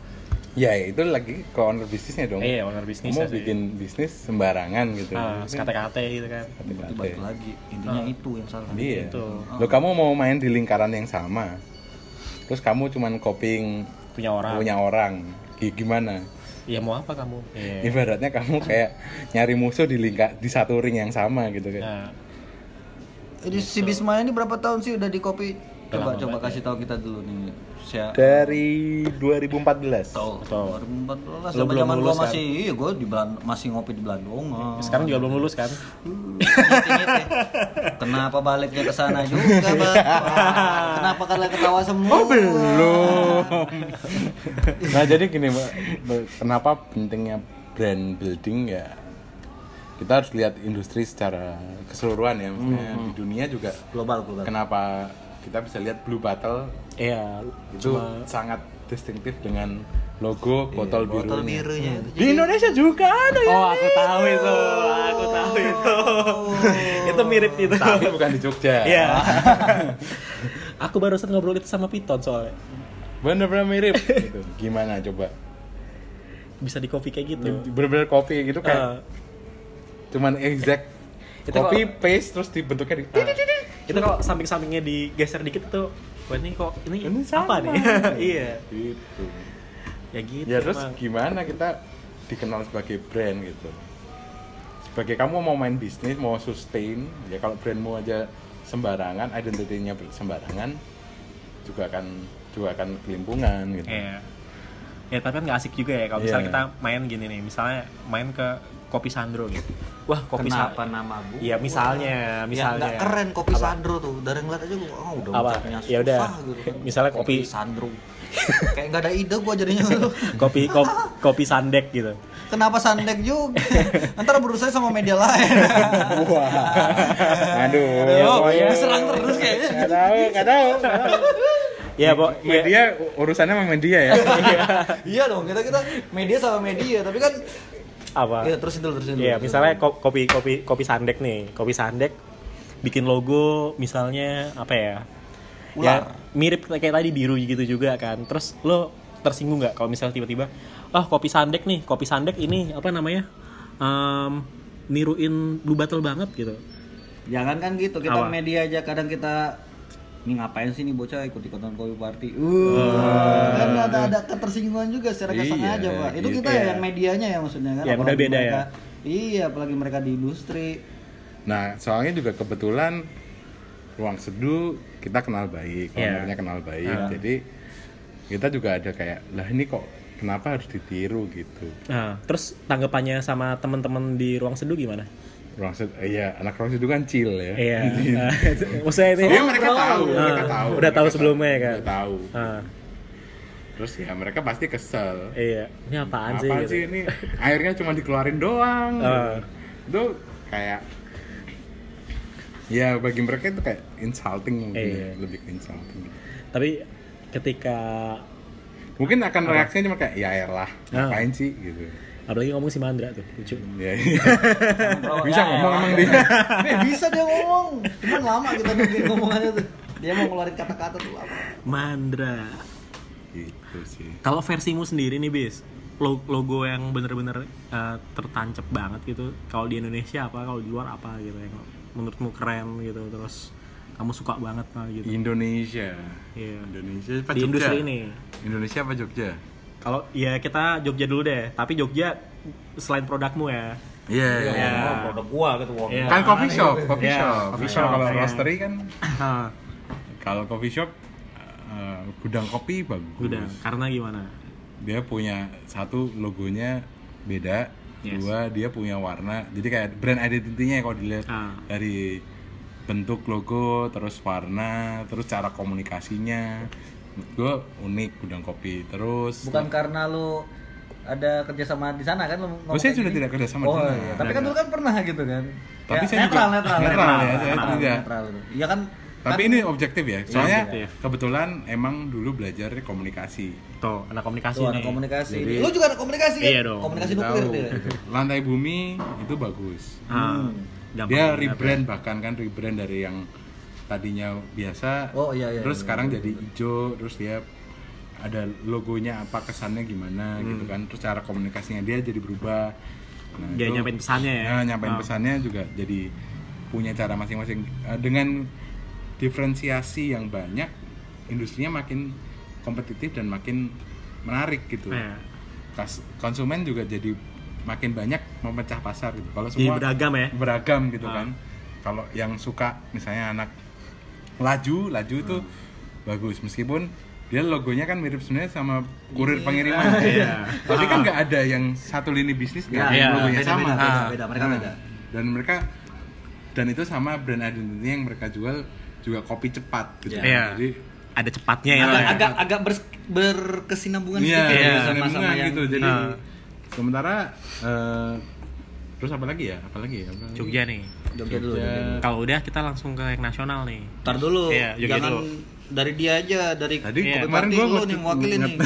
S4: ya itu lagi ke owner bisnisnya dong
S1: Iya, owner bisnisnya
S4: kamu
S1: sih.
S4: bikin bisnis sembarangan gitu
S1: ah kata-kata gitu kan
S2: Itu balik lagi intinya itu yang salah.
S4: Iya.
S1: Gitu.
S4: Lo kamu mau main di lingkaran yang sama. Terus kamu cuman copying
S1: punya orang
S4: punya orang. Gi- Gimana?
S1: ya mau apa kamu Iya.
S4: Ibaratnya kamu kayak nyari musuh di lingkar di satu ring yang sama gitu kan.
S1: Nah,
S2: Jadi si Bisma ini berapa tahun sih udah di kopi? Coba coba
S1: ya.
S2: kasih tahu kita dulu nih. Saya
S5: Dari 2014.
S2: tahu.
S1: Tahu.
S5: Lo
S2: 2014 sama
S5: belum
S2: zaman gua
S5: lulus, kan?
S2: masih iya gua di Belan- masih ngopi di Belandongan.
S1: Iya, Sekarang juga belum lulus kan?
S2: Nyet-nyet ya. Kenapa baliknya ke sana juga,
S1: Iya.
S2: Bang? Wah, Kenapa kalian ketawa semua? Oh, belum.
S4: nah jadi gini Mbak. Be- kenapa pentingnya brand building ya kita harus lihat industri secara keseluruhan ya maksudnya di dunia juga
S2: Global, global.
S4: kenapa kita bisa lihat Blue Bottle
S1: Iya.
S4: itu sangat distintif dengan logo botol
S2: Botol
S4: biru
S2: birunya itu.
S4: di Indonesia juga ada ya
S1: Iya, Oh, aku tahu itu. Aku tahu itu. itu mirip itu.
S4: Oh. tapi bukan di Jogja
S1: Iya. aku barusan ngobrol itu sama Piton soalnya.
S4: bener-bener mirip gitu. gimana coba
S1: Bisa di kopi kayak gitu.
S4: bener-bener kopi gitu
S1: Eh,
S4: kayak cuman exact
S1: Itu
S4: copy paste terus dibentuknya di
S1: itu kalau samping-sampingnya digeser dikit tuh Wah ini kok ini,
S4: Ini
S1: apa
S4: sama.
S1: nih? iya.
S4: gitu
S1: Ya gitu.
S4: ya terus
S1: Mang.
S4: gimana kita dikenal sebagai brand gitu sebagai kamu mau main bisnis mau sustain ya kalau brandmu aja sembarangan identitinya sembarangan juga akan juga akan kelimpungan gitu
S1: Iya. Ya tapi kan nggak asik juga ya kalau misalnya
S4: Iya.
S1: kita main gini nih, misalnya main ke kopi Sandro gitu. Wah kopi Sa-
S2: Kenapa nama bu?
S1: Iya misalnya, misalnya.
S2: Ya, nggak keren kopi Sandro tuh. Dari ngeliat aja gua oh, udah
S1: Apa?
S2: ucapnya
S1: Ya udah.
S2: susah gitu kan.
S1: Misalnya kopi-
S2: Sandro. Kayak nggak ada ide gua jadinya.
S1: kopi kopi, kopi sandek gitu.
S2: Kenapa sandek juga? Ntar berusaha sama media lain.
S4: wah aduh
S2: Ya,
S4: pokoknya-
S2: diserang terus kayaknya.
S4: nggak tahu nggak tahu nggak tahu.
S1: Ya pok. ya-
S4: media urusannya sama media ya
S2: Iya dong, kita kita media sama media, tapi kan
S1: apa?
S2: Iya, terusin dulu, terusin dulu.
S4: Gitu.
S1: Iya misalnya ko- kopi kopi kopi sandek nih, kopi sandek bikin logo misalnya apa ya? Ya,
S2: Ular.
S1: mirip kayak tadi biru gitu juga kan. Terus lo tersinggung nggak kalau misalnya tiba-tiba, ah kopi sandek nih, kopi sandek ini apa namanya? Em, niruin blue bottle banget gitu.
S2: jangan kan gitu, kita
S1: Apa?
S2: media aja kadang kita ini ngapain sih nih bocah ikut-ikutan kopi party. Uh, kan ada ada ketersinggungan juga secara
S4: Iya,
S2: kasar aja, Pak. Itu kita
S4: iya.
S2: yang medianya ya maksudnya kan.
S1: Ya,
S2: Apalagi
S1: udah beda ya.
S2: mereka- Iya, apalagi mereka di industri.
S4: Nah, soalnya juga kebetulan ruang seduh kita kenal baik,
S1: Iya.
S4: ownernya kenal baik. Jadi kita juga ada kayak, lah ini kok kenapa harus ditiru gitu.
S1: Nah, terus tanggapannya sama teman-teman di ruang seduh gimana?
S4: Ruang seduh, eh, iya anak ruang seduh kan chill ya.
S1: Iya. Nah, Maksudnya itu.
S4: Jadi Iya, mereka tahu,
S1: Ah,
S4: mereka tahu.
S1: udah tahu
S4: mereka
S1: sebelumnya ya kan?
S4: Udah tahu.
S1: Ah,
S4: Terus ya mereka pasti kesel.
S1: iya. Ini apaan,
S4: Apaan
S1: sih? gitu?
S4: sih ini? Airnya cuma dikeluarin doang.
S1: Ah.
S4: Itu kayak Ya bagi mereka itu kayak insulting mungkin
S1: Iya.
S4: ya, lebih ke insulting.
S1: Tapi ketika
S4: mungkin akan reaksinya cuma kayak ya elah
S1: Ah.
S4: ngapain sih gitu
S1: apalagi ngomong si Mandra tuh, lucu.
S4: ya,
S2: Ya,
S4: bisa ngomong
S2: emang.
S4: emang dia
S2: Eh, bisa dia ngomong. Cuman lama kita nungguin ngomongannya tuh. Dia mau ngeluarin kata-kata tuh lama.
S1: Mandra.
S4: gitu sih
S1: Kalau versimu sendiri nih, Bis. lo- Logo yang bener-bener eh, tertancap banget gitu. Kalau di Indonesia apa, kalau di luar apa gitu yang menurutmu keren gitu. Terus kamu suka banget lah gitu.
S4: Indonesia
S1: Iya.
S4: Indonesia apa
S1: Di industri ini.
S4: Indonesia apa Jogja
S1: Kalau ya kita Jogja dulu deh, tapi Jogja selain produkmu ya.
S4: iya
S1: Iya.
S2: Oh, produk gua gitu. Wong.
S1: Iya.
S4: kan coffee shop coffee
S1: Iya,
S4: shop
S1: coffee
S4: coffee
S1: shop,
S4: shop kalau
S1: iya.
S4: roastery kan
S1: Hah,
S4: kalau coffee shop eh, gudang kopi bagus
S1: Udah, karena gimana?
S4: dia punya satu logonya beda
S1: Yes.
S4: dua dia punya warna jadi kayak brand identity-nya ya kalau dilihat
S1: Ah.
S4: dari bentuk logo terus warna terus cara komunikasinya gue unik gudang kopi terus
S2: Bukan karena lu ada kerjasama di sana kan lu ngomong
S4: Oh, saya
S2: kayak
S4: sudah
S2: gini.
S4: tidak kerjasama di
S2: oh,
S4: sana.
S2: Iya. Tapi kan dulu kan pernah gitu kan.
S4: Tapi
S2: Ya,
S4: saya
S2: netral,
S4: juga-
S2: netral, netral,
S4: netral
S2: netral,
S4: ya, saya tidak.
S2: netral itu. Iya kan
S4: tapi ini objektif
S2: Iya,
S4: ya soalnya
S1: objektif.
S4: kebetulan emang dulu belajar komunikasi
S1: Tuh, anak komunikasi
S2: tuh
S1: nih.
S2: anak komunikasi.
S4: Jadi-
S2: lu juga ada komunikasi kan?
S1: Iya dong.
S2: Komunikasi
S4: Tahu.
S2: nuklir dia.
S4: lantai bumi itu bagus
S1: Ah, gampang
S4: dia
S1: banget.
S4: rebrand
S1: ya?
S4: bahkan kan rebrand dari yang tadinya biasa
S2: Oh, iya, iya,
S4: terus
S2: iya,
S4: sekarang jadi hijau terus dia ada logonya apa kesannya
S1: Hmm.
S4: gimana gitu kan terus cara komunikasinya dia jadi berubah nah,
S1: Dia nyampein pesannya ya?
S4: Nah, nyampein
S1: Oh.
S4: pesannya juga jadi punya cara masing-masing Eh, dengan diferensiasi yang banyak industrinya makin kompetitif dan makin menarik gitu
S1: Iya.
S4: Kas- konsumen juga jadi makin banyak memecah pasar gitu kalau
S1: Jadi
S4: semua
S1: beragam ya?
S4: beragam gitu kan kalau yang suka misalnya anak laju laju itu
S1: Ah.
S4: bagus meskipun dia logonya kan mirip sebenarnya sama
S1: Iya.
S4: kurir pengiriman tapi kan nggak ada yang satu lini bisnis nggak ada
S1: Ah. Iya,
S4: yang logonya
S2: beda,
S4: sama
S2: beda, beda,
S4: Ah.
S2: beda. Mereka
S4: Nah,
S2: beda.
S4: dan mereka dan itu sama brand identity yang mereka jual juga kopi cepat gitu
S1: Iya.
S4: jadi
S1: Ada cepatnya ya.
S2: agak
S1: Pak.
S2: agak, agak bers- berkesinambungan
S4: Iya,
S2: sedikit
S4: iya,
S2: ya, sama sama
S4: seniman
S2: yang
S4: gitu. Jadi
S1: Nah.
S4: sementara eh, terus apa lagi ya? Apa lagi ya? Apa lagi?
S1: Jogja nih.
S2: Jogja dulu.
S4: Jogja.
S2: Jogja.
S1: Kalau udah kita langsung ke yang nasional nih.
S2: Ntar dulu,
S1: Iya, Jogja
S2: jangan
S1: dulu.
S2: dari dia aja, dari
S4: Tadi
S1: Iya.
S4: kemarin gue
S2: lo nih wakilin nih.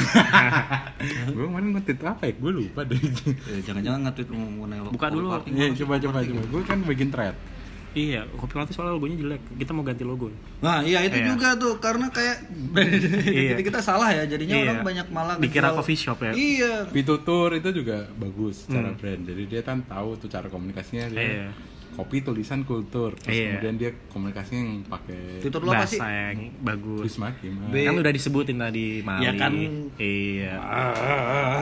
S4: gue kemarin ngetit apa ya? Gue lupa deh.
S2: Eh, Jangan-jangan nge-tweet mengenai
S1: Buka dulu.
S2: Party.
S4: Iya, coba coba coba. Gue kan bikin thread.
S1: Iya, kopi latte soalnya logonya jelek. Kita mau ganti logo.
S2: Nah, iya itu
S1: Iya.
S2: juga tuh karena kayak kita kita salah ya jadinya
S1: Iya.
S2: orang banyak malah
S1: Dikira
S2: ngejual-
S1: coffee shop ya?
S2: Iya.
S4: Pitutur itu juga bagus secara brand. Jadi dia kan tahu tuh cara komunikasinya
S1: Hmm.
S4: dia.
S1: Iya.
S4: Kopi tulisan kultur. Terus
S1: Iya.
S4: kemudian dia komunikasinya yang pakai
S2: Tutur lo apa sih?
S1: Bahasa yang bagus.
S4: Wisma Hakim. Ah.
S1: Kan udah disebutin tadi Mali.
S2: Ya kan.
S1: Iya.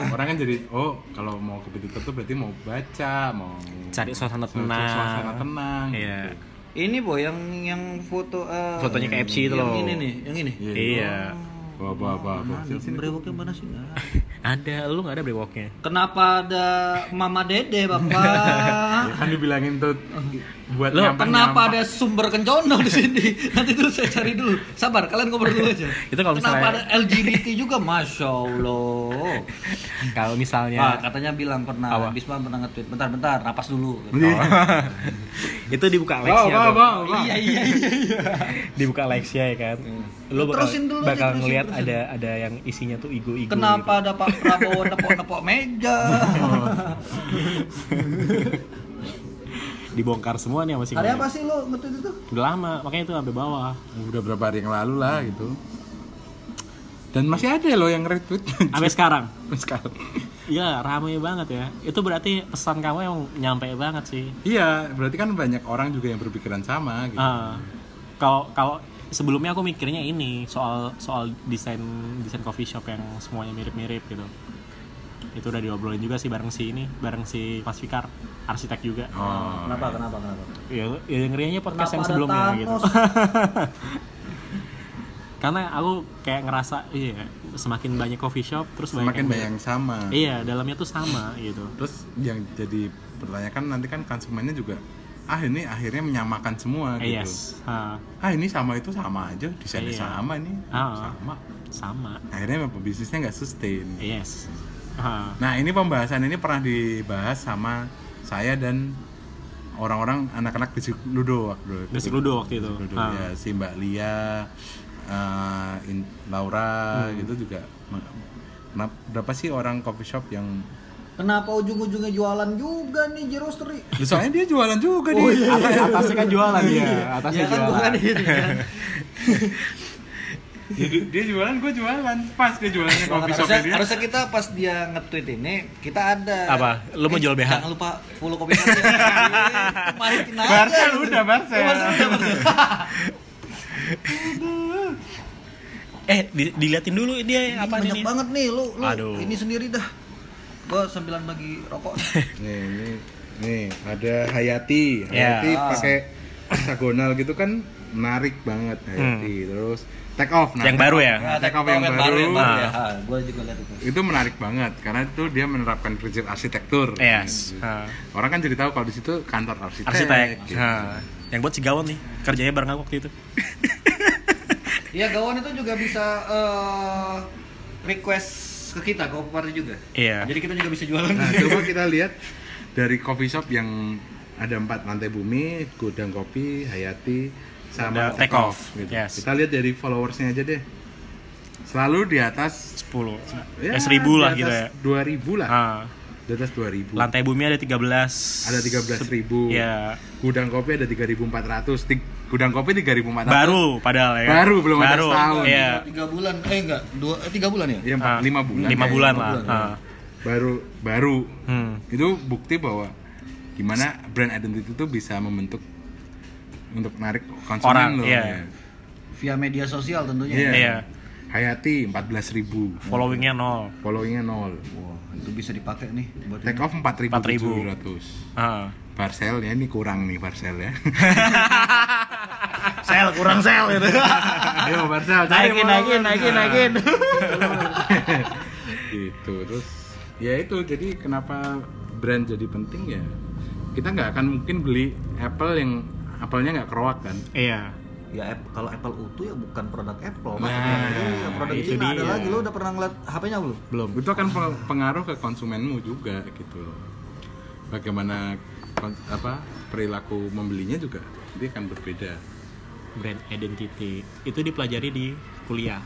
S4: Orang kan jadi oh kalau mau kopi tutur tuh berarti mau baca, mau
S1: Cari suasana
S4: Suasana-
S1: tenang.
S4: Suasana tenang.
S1: Iya.
S4: gitu.
S2: Ini boy yang yang foto eh,
S1: Fotonya KFC itu
S2: yang
S1: loh.
S2: Ini nih, yang ini.
S1: Iya.
S4: Bawa bawa bawa. bawa.
S2: Mana brewoknya mana sih? Nggak ada.
S1: Ada, lu nggak ada brewoknya.
S2: Kenapa ada Mama Dede, Bapak?
S1: Iya.
S4: Ya kan dibilangin tuh buat
S1: Loh,
S4: nyampah-
S2: Kenapa
S4: nyampah.
S2: ada sumber kencono di sini? Nanti dulu saya cari dulu. Sabar, kalian ngobrol dulu aja.
S1: Itu kalau
S2: Kenapa
S1: misalnya-
S2: ada LGBT juga? Masya Allah.
S1: Kalau misalnya
S2: Ah, katanya bilang pernah, Bisma pernah nge-tweet. Bentar, bentar, napas dulu.
S1: Oh. itu dibuka
S4: Bawa
S1: Lexia
S4: bawa
S1: tuh.
S4: bawa, bawa.
S2: iya, iya, iya.
S1: Dibuka Lexia ya kan. Lu bakal,
S2: Hmm. Terusin dulu aja,
S1: bakal
S2: terusin,
S1: ngelihat
S2: terusin.
S1: ada ada yang isinya tuh ego-ego.
S2: Kenapa ada Pak Prabowo nepok-nepok meja?
S1: gitu. Dibongkar semua nih sama si
S2: Hari
S1: Mali.
S2: apa sih lo nge-tweet itu?
S1: Udah lama, makanya itu sampai bawah.
S4: Udah berapa hari yang lalu lah gitu. Dan masih ada loh yang retweet
S1: Sampai sekarang.
S4: sekarang.
S1: Iya, rame banget ya. Itu berarti pesan kamu yang nyampe banget sih.
S4: Iya, berarti kan banyak orang juga yang berpikiran sama gitu.
S1: Ah, Kalau kalau sebelumnya aku mikirnya ini soal soal desain desain coffee shop yang semuanya mirip-mirip gitu. Itu udah diobrolin juga sih bareng si ini, bareng si Mas Fikar, arsitek juga.
S4: Oh.
S2: Kenapa, kenapa, kenapa?
S1: Ya, ya dengerinnya podcast
S2: Kenapa
S1: yang
S2: ada
S1: sebelumnya
S2: Thanos?
S1: gitu. Karena aku kayak ngerasa iya semakin banyak coffee shop terus
S4: Semakin banyak
S1: yang-
S4: yang sama.
S1: kan Iya, dalamnya tuh sama gitu.
S4: Terus yang jadi pertanyaan nanti kan konsumennya juga ah ini akhirnya menyamakan semua
S1: Eh,
S4: gitu.
S1: Yes. Ah,
S4: Ah ini sama itu sama aja, desainnya
S1: Iya.
S4: sama nih.
S1: Ah. Iya.
S4: Sama.
S1: sama.
S4: Akhirnya bisnisnya nggak sustain.
S1: Yes. Ah,
S4: Nah ini pembahasan ini pernah dibahas sama saya dan orang-orang anak-anak bisik ludo waktu itu.
S1: Basic Ludo waktu itu.
S4: Ludo,
S1: Ah.
S4: ya, si Mbak Lia, eh, In- Laura
S1: Hmm.
S4: gitu juga. Ma- kenapa- Berapa sih orang coffee shop yang
S2: Kenapa ujung-ujungnya jualan juga nih Jerostri?
S4: Loh, soalnya dia jualan juga
S1: Oh,
S4: dia.
S1: Atas, atasnya kan jualan ya. Atasnya
S2: Ya kan
S1: jualan.
S2: bukan ini kan.
S1: iya.
S4: Dia- dia jualan, gue jualan. Pas dia jualannya coffee shopnya
S2: harusnya,
S4: dia.
S2: harusnya kita pas dia nge-tweet ini kita ada Eh,
S1: Apa? Lu mau jual BH?
S2: jangan lupa follow kopi Party. kemarin kita aja.
S4: Barcel udah, Barcel.
S2: Ya, udah, Barcel.
S1: Eh, di- diliatin dulu dia apa
S2: banyak
S1: ini.
S2: banget nih lu lu
S1: Aduh.
S2: ini sendiri dah gua sambilan bagi rokok
S4: Nih, ini nih ada
S1: Ya.
S4: Hayati. Hayati pakai hexagonal gitu kan menarik banget Hayati. Terus take off
S1: Hmm. Yang baru ya?
S4: Nah, take off yang baru.
S2: yang baru ya
S1: Nah.
S2: Ah, gua juga lihat itu
S4: Itu menarik banget karena itu dia menerapkan prinsip arsitektur.
S1: Yes. Ah.
S4: Orang kan jadi tahu kalau di situ kantor arsitek.
S1: Arsitek.
S4: gitu.
S1: Ah. Yang buat si Gawon nih, kerjanya bareng aku waktu itu.
S2: iya gawan itu juga bisa eh, request ke kita kopi Party juga
S1: Iya.
S2: jadi kita juga bisa jualan
S4: Nah, coba kita lihat dari coffee shop yang ada empat lantai bumi, gudang kopi, Hayati, sama
S1: Ada Take Off,
S4: gitu.
S1: yes.
S4: Kita lihat dari followersnya aja deh. Selalu di atas
S1: 10. Ya, 1000 lah gitu ya.
S4: 2000 lah.
S1: Ah.
S4: Di atas 2000.
S1: Lantai bumi ada 13.
S4: Ada 13.000.
S1: Iya.
S4: Gudang kopi ada 3400. Di- gudang kopi 3400.
S1: Baru padahal ya. kan?
S4: Baru, belum ada
S1: Baru.
S4: setahun.
S1: Iya.
S2: tiga bulan eh enggak dua eh, tiga bulan ya
S4: Ya,
S1: Ah,
S4: 5 bulan.
S1: lima
S4: kayaknya.
S1: bulan
S4: Lima
S1: lah. Ah.
S4: Baru baru.
S1: Hmm.
S4: Itu bukti bahwa gimana brand identity itu bisa membentuk untuk menarik konsumen
S1: Orang,
S4: loh.
S1: iya.
S4: ya.
S2: via media sosial tentunya
S4: Iya.
S1: Iya.
S4: Hayati 14.000.
S1: Followingnya nol.
S4: Followingnya 0.
S2: Wah, itu bisa dipakai nih buat
S4: Take off 4.700.
S1: Ah.
S4: Parcel ya ini kurang nih parcel ya.
S5: sel kurang sel gitu
S4: Ayo Marcel, cari
S1: naikin naikin naikin naikin
S4: Gitu, terus ya itu jadi kenapa brand jadi penting ya kita nggak akan mungkin beli Apple yang apelnya nggak keroak kan
S3: iya
S2: ya App- kalau Apple utuh ya bukan produk Apple
S4: Nah,
S2: Iya, produk
S3: itu
S2: Cina ada
S3: dia.
S2: lagi lo udah pernah ngeliat HP-nya belum
S4: belum itu akan pe- pengaruh ke konsumenmu juga gitu loh bagaimana kon- apa perilaku membelinya juga dia akan berbeda
S1: brand identity itu dipelajari di kuliah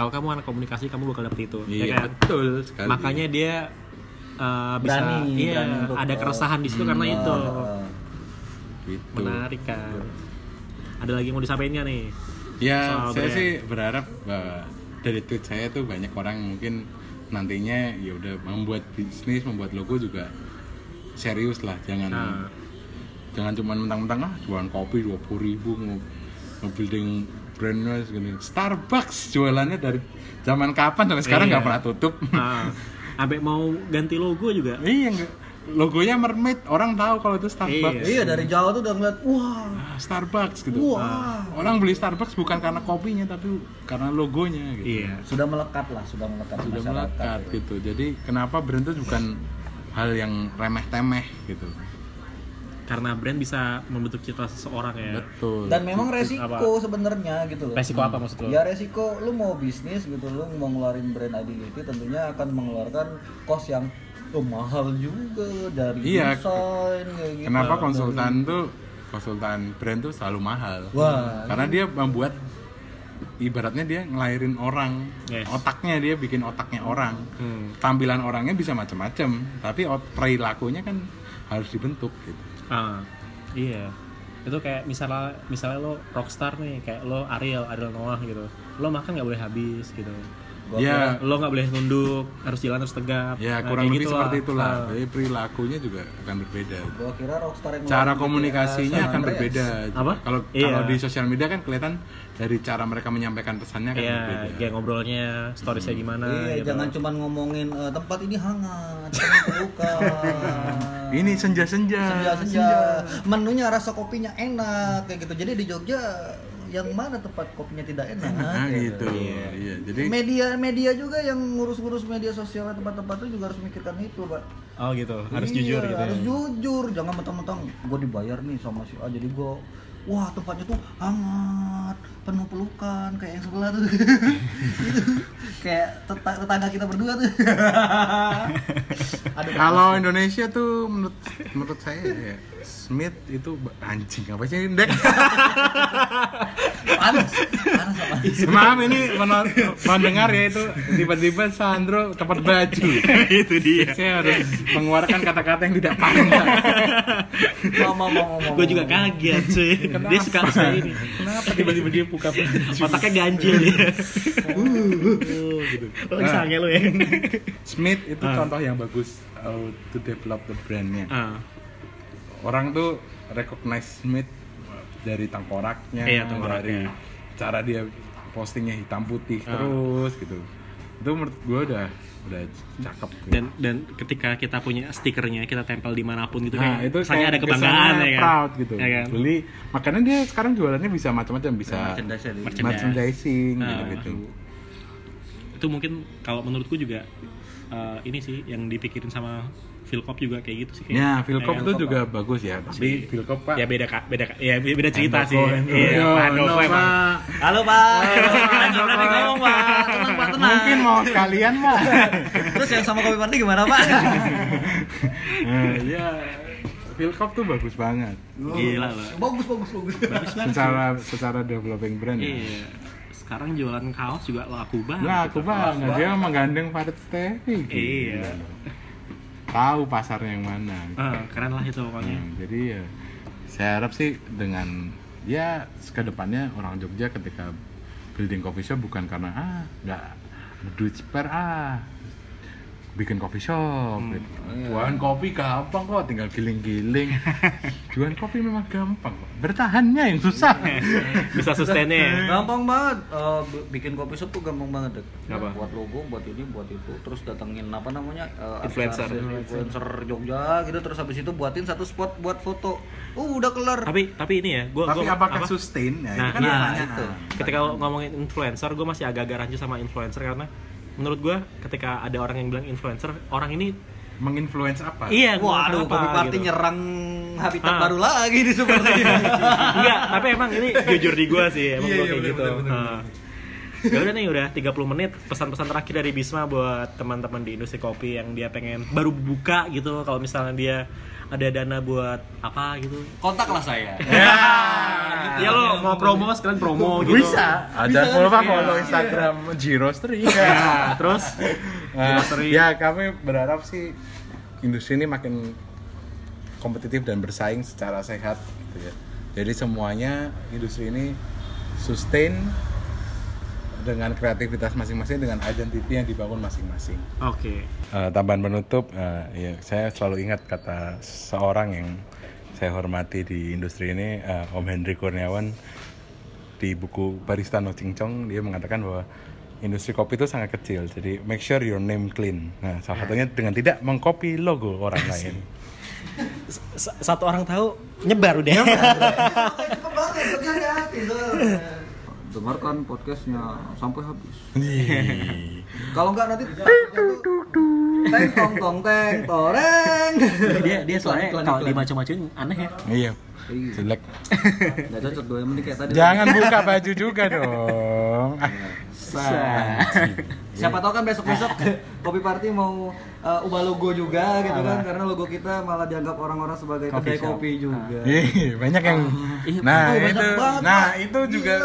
S1: kalau kamu anak komunikasi kamu bakal dapet itu ya
S4: iya
S1: kan?
S4: betul sekali
S1: makanya dia uh, bisa
S2: Berani,
S1: iya,
S2: berani untuk,
S1: ada
S2: uh,
S1: keresahan di situ karena itu
S2: Eh,
S4: gitu.
S1: menarik kan ada lagi yang mau disampaikan nggak nih
S4: Ya,
S1: Soal
S4: saya
S1: brand.
S4: sih berharap bahwa dari tweet saya tuh banyak orang mungkin nantinya ya udah membuat bisnis, membuat logo juga serius lah, jangan
S1: Nah.
S4: jangan cuma mentang-mentang ah jualan kopi dua puluh ribu building brandnya segini. Starbucks jualannya dari zaman kapan sampai sekarang nggak
S1: Iya.
S4: pernah tutup.
S1: Ah, sampai mau ganti logo juga
S4: iya, nggak- logonya mermaid, orang tahu kalau itu Starbucks.
S2: iya dari jauh tuh udah ngeliat wah
S4: Ah, Starbucks gitu.
S2: Wah.
S4: Orang beli Starbucks bukan karena kopinya tapi karena logonya gitu.
S1: iya
S2: sudah melekat lah sudah melekat di
S4: sudah
S2: masyarakat.
S4: melekat gitu jadi kenapa brand itu bukan hal yang remeh temeh gitu
S1: karena brand bisa membentuk citra seseorang ya
S4: betul
S2: dan memang
S1: apa?
S2: resiko sebenarnya gitu loh
S1: resiko apa maksud lo
S2: ya resiko lu mau bisnis gitu lu mau ngeluarin brand identity tentunya akan mengeluarkan cost yang oh, mahal juga dari
S4: Iya.
S2: desain kayak gitu
S4: kenapa konsultan tuh konsultan brand tuh selalu mahal
S2: Wah.
S4: karena dia membuat ibaratnya dia ngelahirin orang
S1: Yes.
S4: otaknya dia bikin otaknya orang
S1: Hmm.
S4: tampilan orangnya bisa macam-macam tapi ot- perilakunya kan harus dibentuk gitu
S1: Ah, iya. Itu kayak misalnya misalnya lo rockstar nih, kayak lo Ariel, Ariel Noah gitu. Lo makan nggak boleh habis gitu.
S4: ya
S1: Lo nggak boleh nunduk, harus jalan harus tegap.
S4: ya
S1: Nah,
S4: kurang
S1: kayak
S4: lebih
S1: gitu
S4: seperti
S1: lah.
S4: itulah
S1: Ah.
S4: jadi perilakunya juga akan berbeda
S2: gua kira rockstar yang
S4: cara
S2: ngeluarin
S4: komunikasinya
S2: GTA San
S4: akan
S2: Andreas.
S4: berbeda.
S1: Apa?
S4: Kalau
S1: Iya.
S4: kalau di sosial media kan kelihatan dari cara mereka menyampaikan pesannya kan
S1: Iya,
S4: berbeda.
S1: kayak ngobrolnya, storiesnya gimana
S2: iya
S1: gitu.
S2: jangan cuman ngomongin eh, tempat ini hangat tempat itu bukan
S4: Ini senja-senja.
S2: senja-senja menunya rasa kopinya enak kayak gitu jadi di Jogja yang mana tempat kopinya tidak enak ya kan?
S4: Nah,
S2: kayak
S4: gitu. Iya, jadi
S2: media media juga yang ngurus-ngurus media sosial tempat-tempat itu juga harus mikirkan itu pak
S1: Oh gitu, harus
S2: Iya,
S1: jujur gitu.
S2: harus
S1: ya.
S2: jujur jangan mentang-mentang gue dibayar nih sama si A jadi gue wah tempatnya tuh hangat penuh pelukan kayak yang sebelah tuh gitu kayak teta- tetangga kita berdua tuh aduh
S4: kalau Indonesia tuh menurut menurut saya ya, Smith itu ba- anjing apa sih Dek?
S2: panas panas apa
S4: Maaf ini menor- mendengar ya itu tiba-tiba Sandro tepat baju. itu dia. Saya harus mengeluarkan kata-kata yang tidak pantas.
S2: mau mau mau mau
S1: Gue juga kaget cuy. dia suka suka ini.
S4: Kenapa tiba-tiba dia buka baju?
S1: Otaknya ganjil dia. Lo
S4: Nah.
S1: sange lo ya.
S4: Smith itu contoh yang bagus how to develop the brandnya.
S1: Ah,
S4: Orang tuh recognize Smith dari tengkoraknya,
S1: Iya, tengkoraknya.
S4: dari cara dia postingnya hitam putih
S1: Ah.
S4: terus gitu. Itu menurut gue udah udah cakep. gitu.
S1: dan dan ketika kita punya stikernya kita tempel dimanapun gitu
S4: Nah,
S1: kayak
S4: itu
S1: rasanya
S4: kayak
S1: ada kebanggaan
S4: kesannya
S1: ya kan
S4: proud gitu.
S1: ya kan?
S4: Beli makanya dia sekarang jualannya bisa macam-macam, bisa
S1: Merchandise.
S4: merchandising
S1: Ah.
S4: gitu-gitu.
S1: itu mungkin kalau menurutku juga eh, ini sih yang dipikirin sama Philcop juga kayak gitu sih kayak,
S4: Ya, Philcop
S1: ya,
S4: itu juga bagus ya, tapi Philcop Pak.
S1: ya beda kak beda Kak. ya beda cerita
S4: Handoko,
S1: sih
S4: Handoko.
S1: iya
S4: Yo,
S1: Pak Handoko
S4: no,
S1: emang
S4: Pak.
S2: halo pak
S4: Handoko.
S2: Berani ngomong pak tenang pak tenang
S4: Mungkin mau sekalian mau.
S2: terus yang sama kopi party gimana pak
S4: Eh, ya, Philcop tuh bagus banget.
S1: gila loh
S2: bagus bagus bagus
S4: Secara secara developing brand ya.
S1: iya sekarang jualan kaos juga laku banget gitu.
S4: Lah, aku banget dia menggandeng Farid Stevi. gitu.
S1: Iya.
S4: Tahu pasarnya yang mana.
S1: Eh, keren lah itu pokoknya
S4: Hmm, jadi ya, saya harap sih dengan ya kedepannya orang Jogja ketika building coffee shop bukan karena ah nggak ada duit spare ah bikin coffee shop
S1: Hmm.
S4: gitu. Jualan kopi gampang kok, tinggal giling-giling. Jualan kopi memang gampang kok. Bertahannya yang susah.
S1: Bisa sustainnya ya.
S2: Gampang banget Eh, b- bikin kopi shop tuh gampang banget dek.
S1: Apa?
S2: Buat logo, buat ini, buat itu, terus datengin apa namanya eh,
S1: Influencer.
S2: artis-artis, influencer Jogja gitu, terus habis itu buatin satu spot buat foto. Uh udah kelar.
S1: Tapi tapi ini ya, gua
S3: Tapi
S1: gua-
S3: apakah
S1: apa?
S3: sustain? Ya,
S1: Nah,
S3: itu kan
S1: iya,
S3: pertanyaan.
S2: itu.
S1: ketika lo ngomongin influencer gue masih agak-agak rancu sama influencer karena menurut gue ketika ada orang yang bilang influencer orang ini
S4: Menginfluence apa?
S1: iya gua
S2: Waduh,
S1: kenapa,
S2: kopi party
S1: gitu.
S2: nyerang habitat
S1: Ah.
S2: baru lagi di Super Saya.
S1: enggak tapi emang ini jujur di gue sih emang
S3: Iya, iya,
S1: gue kayak
S3: bener,
S1: gitu
S3: bener, bener,
S1: Nah. ya udah nih udah 30 menit pesan-pesan terakhir dari Bisma buat teman-teman di industri kopi yang dia pengen baru buka gitu kalau misalnya dia ada dana buat apa gitu
S2: Kontaklah saya.
S1: ya lo mau promo sekalian promo gitu
S5: Bisa. Iya.
S4: Ada follow follow Instagram Jiro Street.
S1: Nah, terus
S4: Nah, ya kami berharap sih industri ini makin kompetitif dan bersaing secara sehat gitu ya. Jadi semuanya industri ini sustain dengan kreativitas masing-masing dengan identity yang dibangun masing-masing.
S1: oke
S4: Eh, tambahan penutup, eh, ya, saya selalu ingat kata seorang yang saya hormati di industri ini, eh, Om Hendri Kurniawan di buku Barista No Cincong dia mengatakan bahwa industri kopi itu sangat kecil, jadi make sure your name clean. Nah, salah satunya dengan tidak mengcopy logo orang lain.
S1: S- satu orang tahu nyebar udah
S2: Dengarkan kan podcastnya sampai habis.
S4: Ih.
S2: Kalau enggak nanti teng tong tong teng toreng.
S1: dia dia soalnya kalau di macam-macam aneh ya
S4: Iya, jelek.
S2: Enggak cocok gue yang penting kayak tadi.
S4: Jangan buka baju juga dong. Ah,
S2: Sa- Siapa tahu kan besok-besok kopi party mau uh, ubah logo juga gitu kan karena logo kita malah dianggap orang-orang sebagai kedai kopi Iya. juga.
S4: Ih, Iya, banyak yang nah
S2: banyak
S4: itu
S2: banget,
S4: nah
S2: Pak.
S4: itu juga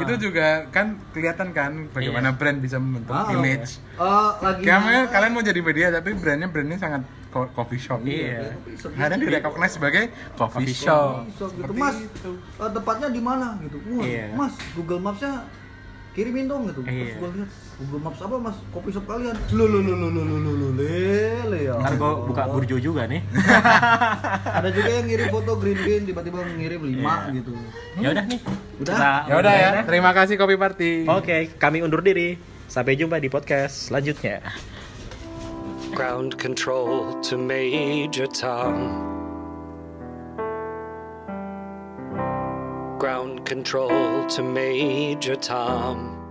S4: itu juga kan kelihatan kan bagaimana brand bisa membentuk
S2: Ah,
S4: image ya?
S2: Eh, lagi
S4: kalian kalian mau jadi media tapi brandnya brandnya sangat co- coffee shop iya kadang di recognize sebagai coffee, shop,
S2: So, gitu. Mas, eh, tempatnya di mana gitu? Wah, Mas, Google Maps-nya kirimin dong gitu. Terus gua lihat Google Maps apa Mas? Kopi shop kalian. Lu lu lu lu lu lu lu lu lele ya.
S1: ntar gue buka burjo juga nih
S2: Ada juga yang ngirim foto green bean tiba-tiba ngirim 5 gitu.
S1: ya udah nih
S2: Udah.
S1: Kita-
S4: ya udah ya terima kasih coffee party
S1: Oke, kami undur diri. Sampai jumpa di podcast selanjutnya.
S6: ground control to Major Tom. Ground control to Major Tom.